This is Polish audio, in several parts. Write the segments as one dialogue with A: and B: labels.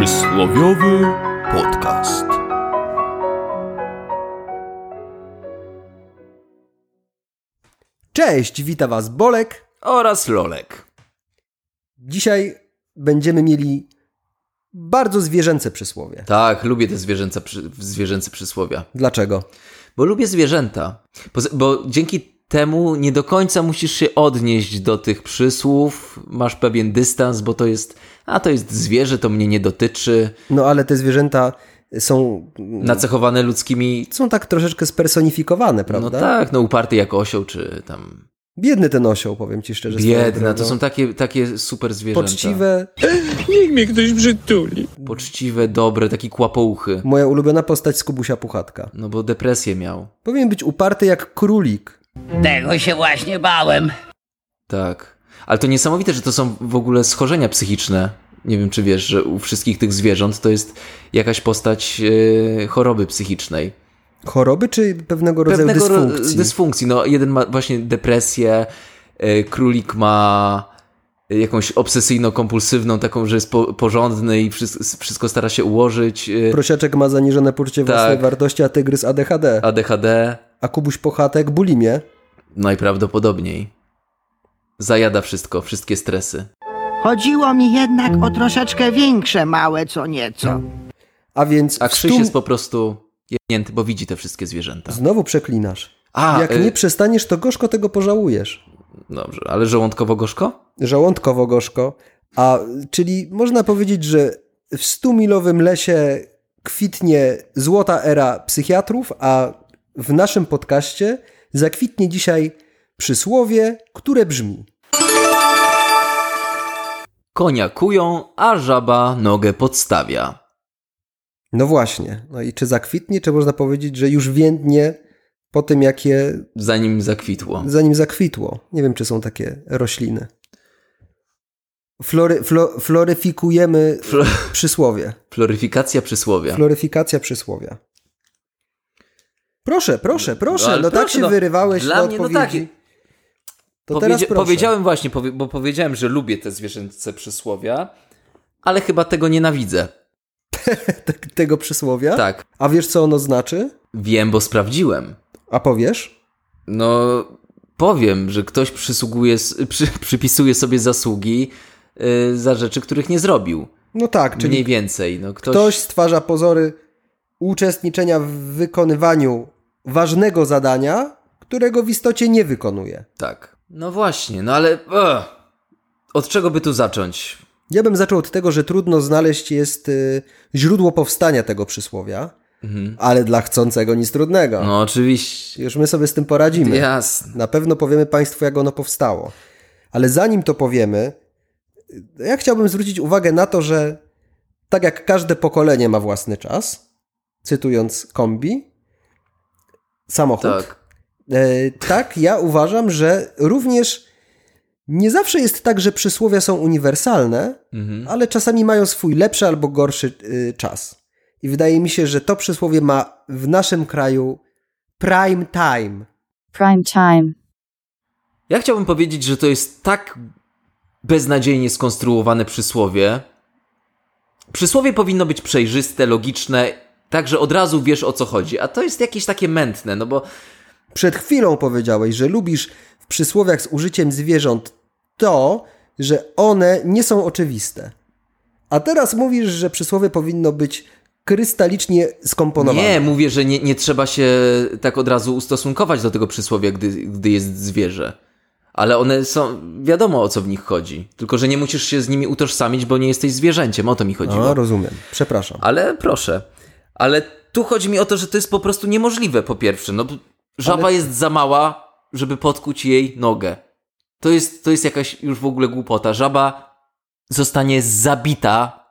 A: Przysłowiowy podcast.
B: Cześć, wita Was Bolek.
A: Oraz Lolek.
B: Dzisiaj będziemy mieli bardzo zwierzęce przysłowie.
A: Tak, lubię te zwierzęca, przy- zwierzęce przysłowia.
B: Dlaczego?
A: Bo lubię zwierzęta. Poza- Bo dzięki temu nie do końca musisz się odnieść do tych przysłów. Masz pewien dystans, bo to jest. A to jest zwierzę, to mnie nie dotyczy.
B: No ale te zwierzęta są,
A: Nacechowane ludzkimi.
B: są tak troszeczkę spersonifikowane, prawda?
A: No tak, no uparty jak osioł, czy tam.
B: Biedny ten osioł, powiem Ci szczerze. swoją
A: Biedna.
B: drogą.
A: To są takie, takie super zwierzęta.
B: Poczciwe.
C: Niech mnie ktoś przytuli.
A: Poczciwe, dobre, taki kłapouchy.
B: Moja ulubiona postać z Kubusia Puchatka.
A: No bo depresję miał.
B: Powinien być uparty jak królik.
D: Tego się właśnie bałem.
A: Tak. Ale to niesamowite, że to są w ogóle schorzenia psychiczne. Nie wiem, czy wiesz, że u wszystkich tych zwierząt to jest jakaś postać e, choroby psychicznej.
B: Choroby czy pewnego rodzaju
A: ro-
B: dysfunkcji?
A: dysfunkcji. No, jeden ma właśnie depresję, e, królik ma e, jakąś obsesyjno-kompulsywną, taką, że jest po, porządny i wszystko, wszystko stara się ułożyć. e,
B: Prosiaczek ma zaniżone poczucie własnej
A: Tak.
B: wartości, a tygrys ADHD. A,
A: ADHD
B: Kubuś Puchatek bulimię.
A: najprawdopodobniej. Zajada wszystko, wszystkie stresy.
E: Chodziło mi jednak o troszeczkę większe małe co nieco.
B: A więc
A: A
B: w
A: Krzyś
B: stu-
A: jest po prostu jebnięty, bo widzi te wszystkie zwierzęta.
B: Znowu przeklinasz.
A: A,
B: Jak
A: y-
B: nie przestaniesz, to gorzko tego pożałujesz.
A: Dobrze, ale żołądkowo-gorzko?
B: Żołądkowo gorzko. A czyli można powiedzieć, że w stumilowym lesie kwitnie złota era psychiatrów, a w naszym podcaście zakwitnie dzisiaj przysłowie, które brzmi.
A: Konia kują, a żaba nogę podstawia.
B: No właśnie. No i czy zakwitnie, czy można powiedzieć, że już więdnie po tym, jak je
A: Zanim zakwitło.
B: zanim zakwitło. Nie wiem, czy są takie rośliny. Flory, flo, floryfikujemy
A: Flo-
B: przysłowie.
A: Floryfikacja przysłowia.
B: Floryfikacja przysłowia. Proszę, proszę, proszę. No,
A: ale
B: tak
A: proszę,
B: się
A: no.
B: wyrywałeś
A: Dla
B: do
A: mnie, no
B: odpowiedzi.
A: tak.
B: To
A: Powiedzia-
B: teraz proszę.
A: powiedziałem właśnie, powie- bo powiedziałem, że lubię te zwierzęce przysłowia, ale chyba tego nienawidzę.
B: Te- tego przysłowia.
A: Tak,
B: A wiesz, co ono znaczy?
A: wiem, bo sprawdziłem.
B: A powiesz?
A: No, powiem, że ktoś przysługuje, s- przy, przypisuje sobie zasługi y, za rzeczy, których nie zrobił.
B: No tak, czyli
A: Mniej więcej. No, ktoś...
B: ktoś stwarza pozory uczestniczenia w wykonywaniu ważnego zadania, którego w istocie nie wykonuje.
A: Tak. No właśnie, no ale. Ugh. Od czego by tu zacząć?
B: Ja bym zaczął od tego, że trudno znaleźć jest y, źródło powstania tego przysłowia, ale dla chcącego nic trudnego.
A: Mhm. No oczywiście.
B: Już my sobie z tym poradzimy.
A: Jasne.
B: Na pewno powiemy Państwu, jak ono powstało. Ale zanim to powiemy, y, ja chciałbym zwrócić uwagę na to, że tak jak każde pokolenie ma własny czas, cytując kombi, samochód,
A: Tak.
B: E, tak, ja uważam, że również nie zawsze jest tak, że przysłowia są uniwersalne, ale czasami mają swój lepszy albo gorszy y, czas. I wydaje mi się, że to przysłowie ma w naszym kraju prime time.
F: prime time.
A: Ja chciałbym powiedzieć, że to jest tak beznadziejnie skonstruowane przysłowie. Przysłowie powinno być przejrzyste, logiczne, tak że od razu wiesz o co chodzi. A to jest jakieś takie mętne, no bo
B: Przed chwilą powiedziałeś, że lubisz w przysłowiach z użyciem zwierząt to, że one nie są oczywiste. A teraz mówisz, że przysłowie powinno być krystalicznie skomponowane.
A: nie, mówię, że nie, nie trzeba się tak od razu ustosunkować do tego przysłowia, gdy, gdy jest zwierzę. Ale one są, wiadomo o co w nich chodzi. Tylko, że nie musisz się z nimi utożsamić, bo nie jesteś zwierzęciem, o to mi chodziło.
B: A, No, rozumiem. Przepraszam.
A: Ale proszę. Ale tu chodzi mi o to, że to jest po prostu niemożliwe, po pierwsze. No, b- żaba jest za mała, żeby potkuć jej nogę. To jest, to jest jakaś już w ogóle głupota. Żaba zostanie zabita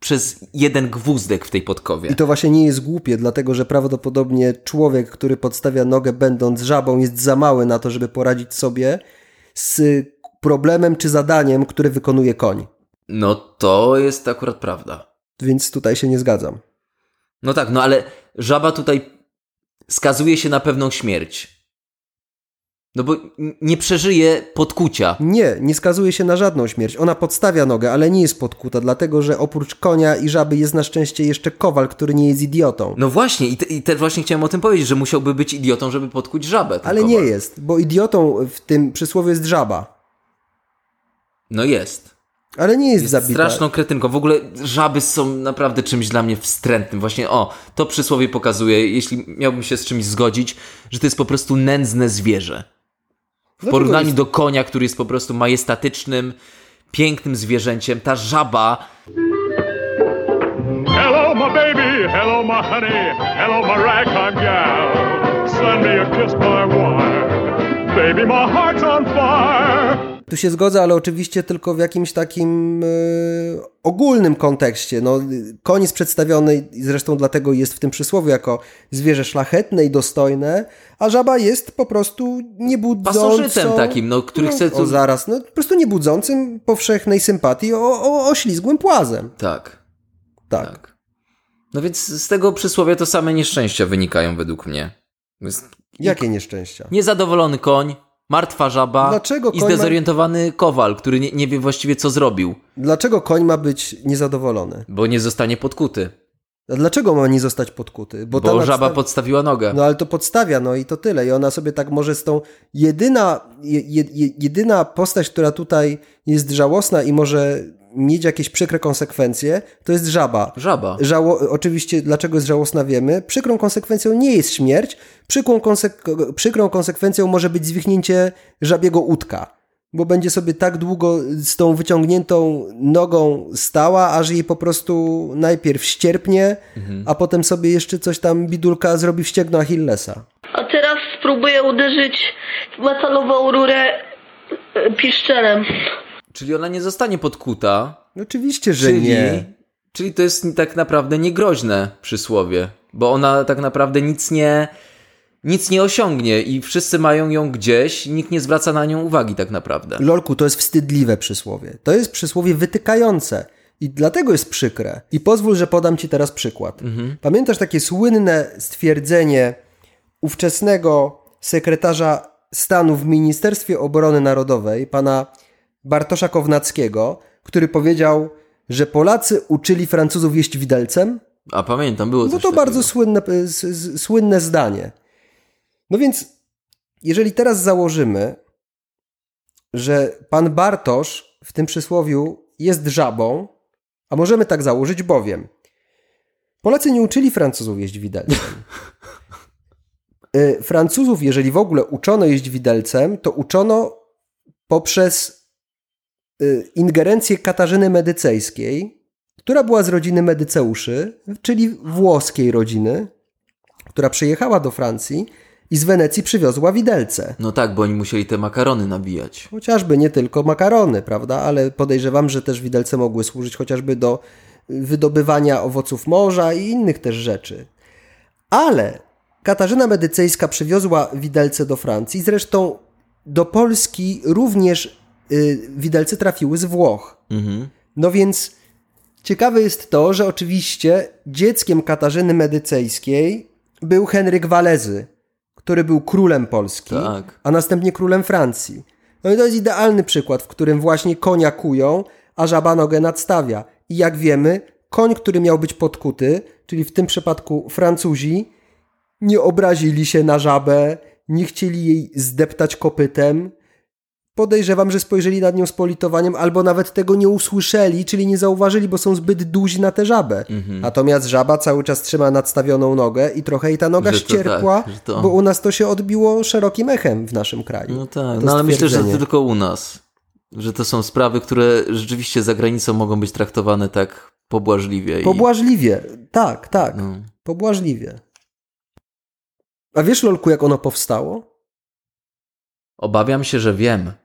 A: przez jeden gwózdek w tej podkowie.
B: I to właśnie nie jest głupie, dlatego że prawdopodobnie człowiek, który podstawia nogę będąc żabą, jest za mały na to, żeby poradzić sobie z problemem czy zadaniem, które wykonuje koń.
A: No to jest akurat prawda.
B: Więc tutaj się nie zgadzam.
A: No tak, no ale żaba tutaj skazuje się na pewną śmierć. No bo n- nie przeżyje podkucia.
B: Nie, nie skazuje się na żadną śmierć. Ona podstawia nogę, ale nie jest podkuta, dlatego że oprócz konia i żaby jest na szczęście jeszcze kowal, który nie jest idiotą.
A: No właśnie, i, te, i też właśnie chciałem o tym powiedzieć, że musiałby być idiotą, żeby podkuć żabę. ten
B: Ale
A: kowal.
B: nie jest, bo idiotą w tym przysłowie jest żaba.
A: No jest.
B: Ale nie jest,
A: Jest
B: zabita.
A: straszną kretynką. W ogóle żaby są naprawdę czymś dla mnie wstrętnym. Właśnie o, to przysłowie pokazuje, jeśli miałbym się z czymś zgodzić, że to jest po prostu nędzne zwierzę. W
B: Dlaczego
A: porównaniu
B: No jest-
A: do konia, który jest po prostu majestatycznym, pięknym zwierzęciem, ta żaba
F: Hello, my baby. Hello, my honey. Hello, my ragtime gal. Send me a kiss by wire. Baby, my heart's on fire.
B: Tu się zgodzę, ale oczywiście tylko w jakimś takim e, ogólnym kontekście. No, y, koń jest przedstawiony i zresztą dlatego jest w tym przysłowiu jako zwierzę szlachetne i dostojne, a żaba jest po prostu niebudzącą...
A: Pasożytem takim, no, który chce tu-
B: O, zaraz, no, po prostu niebudzącym powszechnej sympatii o, o, o ślizgłym płazem.
A: Tak,
B: Tak.
A: tak. No więc z tego przysłowia to same nieszczęścia wynikają według mnie. Jest
B: Jakie nieszczęścia?
A: niezadowolony koń, martwa żaba
B: Dlaczego
A: i
B: koń ma-
A: zdezorientowany kowal, który nie, nie wie właściwie co zrobił,
B: Dlaczego koń ma być niezadowolony?
A: bo nie zostanie podkuty,
B: A dlaczego ma nie zostać podkuty?
A: bo,
B: ta
A: żaba
B: nadsta-
A: podstawiła nogę.
B: No ale to podstawia, no i to tyle. I ona sobie tak może z tą jedyna, je, je, jedyna postać, która tutaj jest żałosna i może mieć jakieś przykre konsekwencje, to jest żaba.
A: Żaba.
B: Żało, oczywiście dlaczego jest żałosna wiemy. Przykrą konsekwencją nie jest śmierć, przykrą, konsek- przykrą konsekwencją może być zwichnięcie żabiego udka. Bo będzie sobie tak długo z tą wyciągniętą nogą stała, aż jej po prostu najpierw ścierpnie, a potem sobie jeszcze coś tam bidulka zrobi w ścięgno Achillesa.
G: A teraz spróbuję uderzyć w metalową rurę e, piszczelem.
A: Czyli ona nie zostanie podkuta,
B: Oczywiście, że
A: czyli,
B: nie.
A: czyli to jest tak naprawdę niegroźne przysłowie, bo ona tak naprawdę nic nie, nic nie osiągnie i wszyscy mają ją gdzieś, nikt nie zwraca na nią uwagi tak naprawdę.
B: Lolku, to jest wstydliwe przysłowie. To jest przysłowie wytykające. I dlatego jest przykre. I pozwól, że podam ci teraz przykład. Pamiętasz takie słynne stwierdzenie ówczesnego sekretarza stanu w Ministerstwie Obrony Narodowej, pana Bartosza Kownackiego, który powiedział, że Polacy uczyli Francuzów jeść widelcem?
A: A pamiętam, było
B: No
A: coś
B: to
A: takiego.
B: bardzo słynne, y, s- s- słynne zdanie. No więc, jeżeli teraz założymy, że pan Bartosz w tym przysłowiu jest żabą, a możemy tak założyć, bowiem Polacy nie uczyli Francuzów jeść widelcem. Y, Francuzów, jeżeli w ogóle uczono jeść widelcem, to uczono poprzez y, ingerencję Katarzyny Medycejskiej, która była z rodziny Medyceuszy, czyli włoskiej rodziny, która przyjechała do Francji i z Wenecji przywiozła widelce.
A: No tak, bo oni musieli te makarony nabijać.
B: Chociażby nie tylko makarony, prawda? Ale podejrzewam, że też widelce mogły służyć chociażby do y, wydobywania owoców morza i innych też rzeczy. Ale Katarzyna Medycejska przywiozła widelce do Francji, zresztą do Polski również y, widelce trafiły z Włoch. No więc ciekawe jest to, że oczywiście dzieckiem Katarzyny Medycejskiej był Henryk Walezy, który był królem Polski,
A: Tak.
B: a następnie królem Francji. No i to jest idealny przykład, w którym właśnie konia kują, a żaba nogę nadstawia. I jak wiemy, koń, który miał być podkuty, czyli w tym przypadku Francuzi, nie obrazili się na żabę, nie chcieli jej zdeptać kopytem. Podejrzewam, że spojrzeli nad nią z politowaniem, albo nawet tego nie usłyszeli, czyli nie zauważyli, bo są zbyt duzi na tę żabę.
A: Mhm.
B: Natomiast żaba cały czas trzyma nadstawioną nogę i trochę jej ta noga
A: Że to
B: ścierpła,
A: tak, że to-
B: bo u nas to się odbiło szerokim echem w naszym kraju. To
A: No tak, no ale myślę, że to
B: stwierdzenie.
A: tylko u nas. Że to są sprawy, które rzeczywiście za granicą mogą być traktowane tak pobłażliwie.
B: Pobłażliwie, tak, tak,
A: i, no.
B: pobłażliwie. A wiesz, Lolku, jak ono powstało?
A: Obawiam się, że wiem.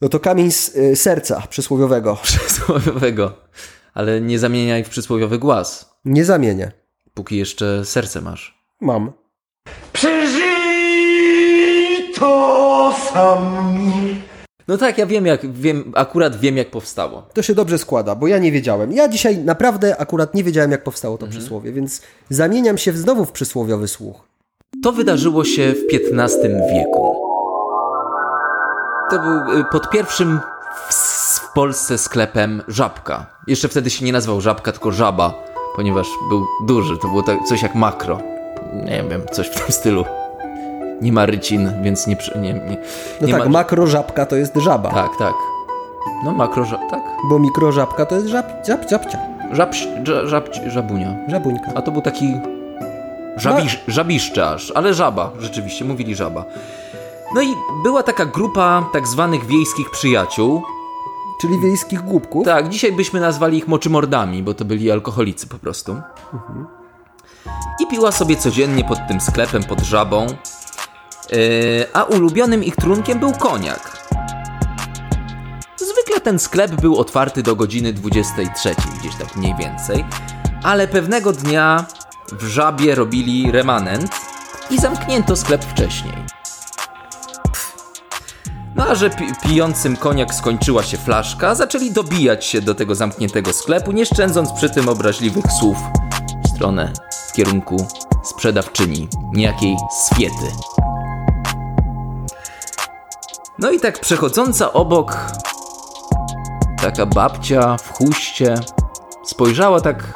B: No to kamień z y, serca przysłowiowego.
A: Przysłowiowego. Ale nie zamieniaj w przysłowiowy głaz,
B: Nie zamienię.
A: póki jeszcze serce masz.
B: Mam.
A: No tak, ja wiem jak, wiem, akurat wiem jak powstało.
B: To się dobrze składa, bo ja nie wiedziałem. Ja dzisiaj naprawdę akurat nie wiedziałem, jak powstało
A: Mhm.
B: to przysłowie, więc zamieniam się w- znowu w przysłowiowy słuch.
A: To wydarzyło się w XV wieku. to był y, pod pierwszym w, s- w Polsce sklepem Żabka. Jeszcze wtedy się nie nazywał Żabka, tylko Żaba, ponieważ był duży. To było tak, coś jak makro. Nie wiem, coś w tym stylu. Nie ma rycin, więc nie... przy- nie, nie,
B: No
A: nie
B: tak,
A: ma...
B: makro żabka to jest żaba,
A: Tak, tak. No makro, żab, tak.
B: bo mikro żabka to jest żab, żab, żabcia,
A: Żab, żab, żab, żabunia.
B: żabuńka.
A: A to był taki żabisz, żabiszcze aż, ale żaba, rzeczywiście, mówili żaba. No i była taka grupa tak zwanych wiejskich przyjaciół.
B: Czyli wiejskich głupków.
A: Tak, dzisiaj byśmy nazwali ich moczymordami, bo to byli alkoholicy po prostu. I piła sobie codziennie pod tym sklepem, pod żabą. Yy, a ulubionym ich trunkiem był koniak. Zwykle ten sklep był otwarty do godziny 23, gdzieś tak mniej więcej. Ale pewnego dnia w żabie robili remanent i zamknięto sklep wcześniej. No a że pi- pijącym koniak skończyła się flaszka, zaczęli dobijać się do tego zamkniętego sklepu, nie szczędząc przy tym obraźliwych słów w stronę w kierunku sprzedawczyni, niejakiej Swiety. No i tak przechodząca obok taka babcia w huście spojrzała tak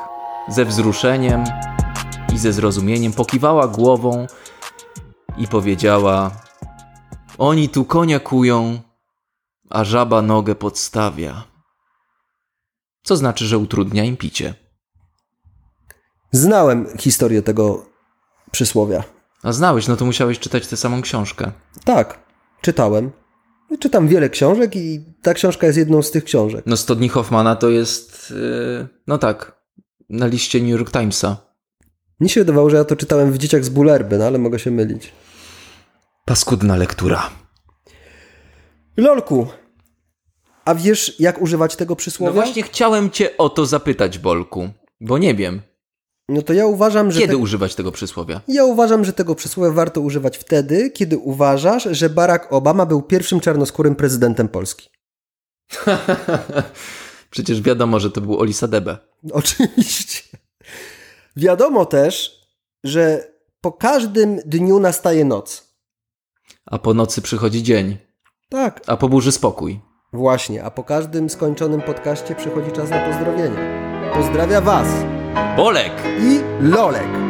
A: ze wzruszeniem i ze zrozumieniem, pokiwała głową i powiedziała oni tu konia kują, a żaba nogę podstawia. Co znaczy, że utrudnia im picie.
B: Znałem historię tego przysłowia.
A: A znałeś, no to musiałeś czytać tę samą książkę.
B: Tak, czytałem. Czytam wiele książek i ta książka jest jedną z tych książek.
A: No 100 dni Hoffmana to jest, yy, no tak, na liście New York Timesa.
B: Mi się wydawało, że ja to czytałem w Dzieciach z Bulerby, no ale mogę się mylić.
A: Paskudna lektura.
B: Lolku, a wiesz jak używać tego
A: No
B: przysłowia?
A: właśnie chciałem cię o to zapytać, Bolku, bo nie wiem,
B: No to ja uważam, że...
A: kiedy
B: te-
A: używać tego przysłowia.
B: Ja uważam, że tego przysłowia warto używać wtedy, kiedy uważasz, że Barack Obama był pierwszym czarnoskórym prezydentem Polski.
A: Przecież wiadomo, że to był Olisadebe.
B: Oczywiście. Wiadomo też, że po każdym dniu nastaje noc.
A: A po nocy przychodzi dzień,
B: Tak,
A: a po burzy spokój.
B: właśnie, a po każdym skończonym podcaście przychodzi czas na pozdrowienie. Pozdrawia Was
A: Bolek!
B: i Lolek.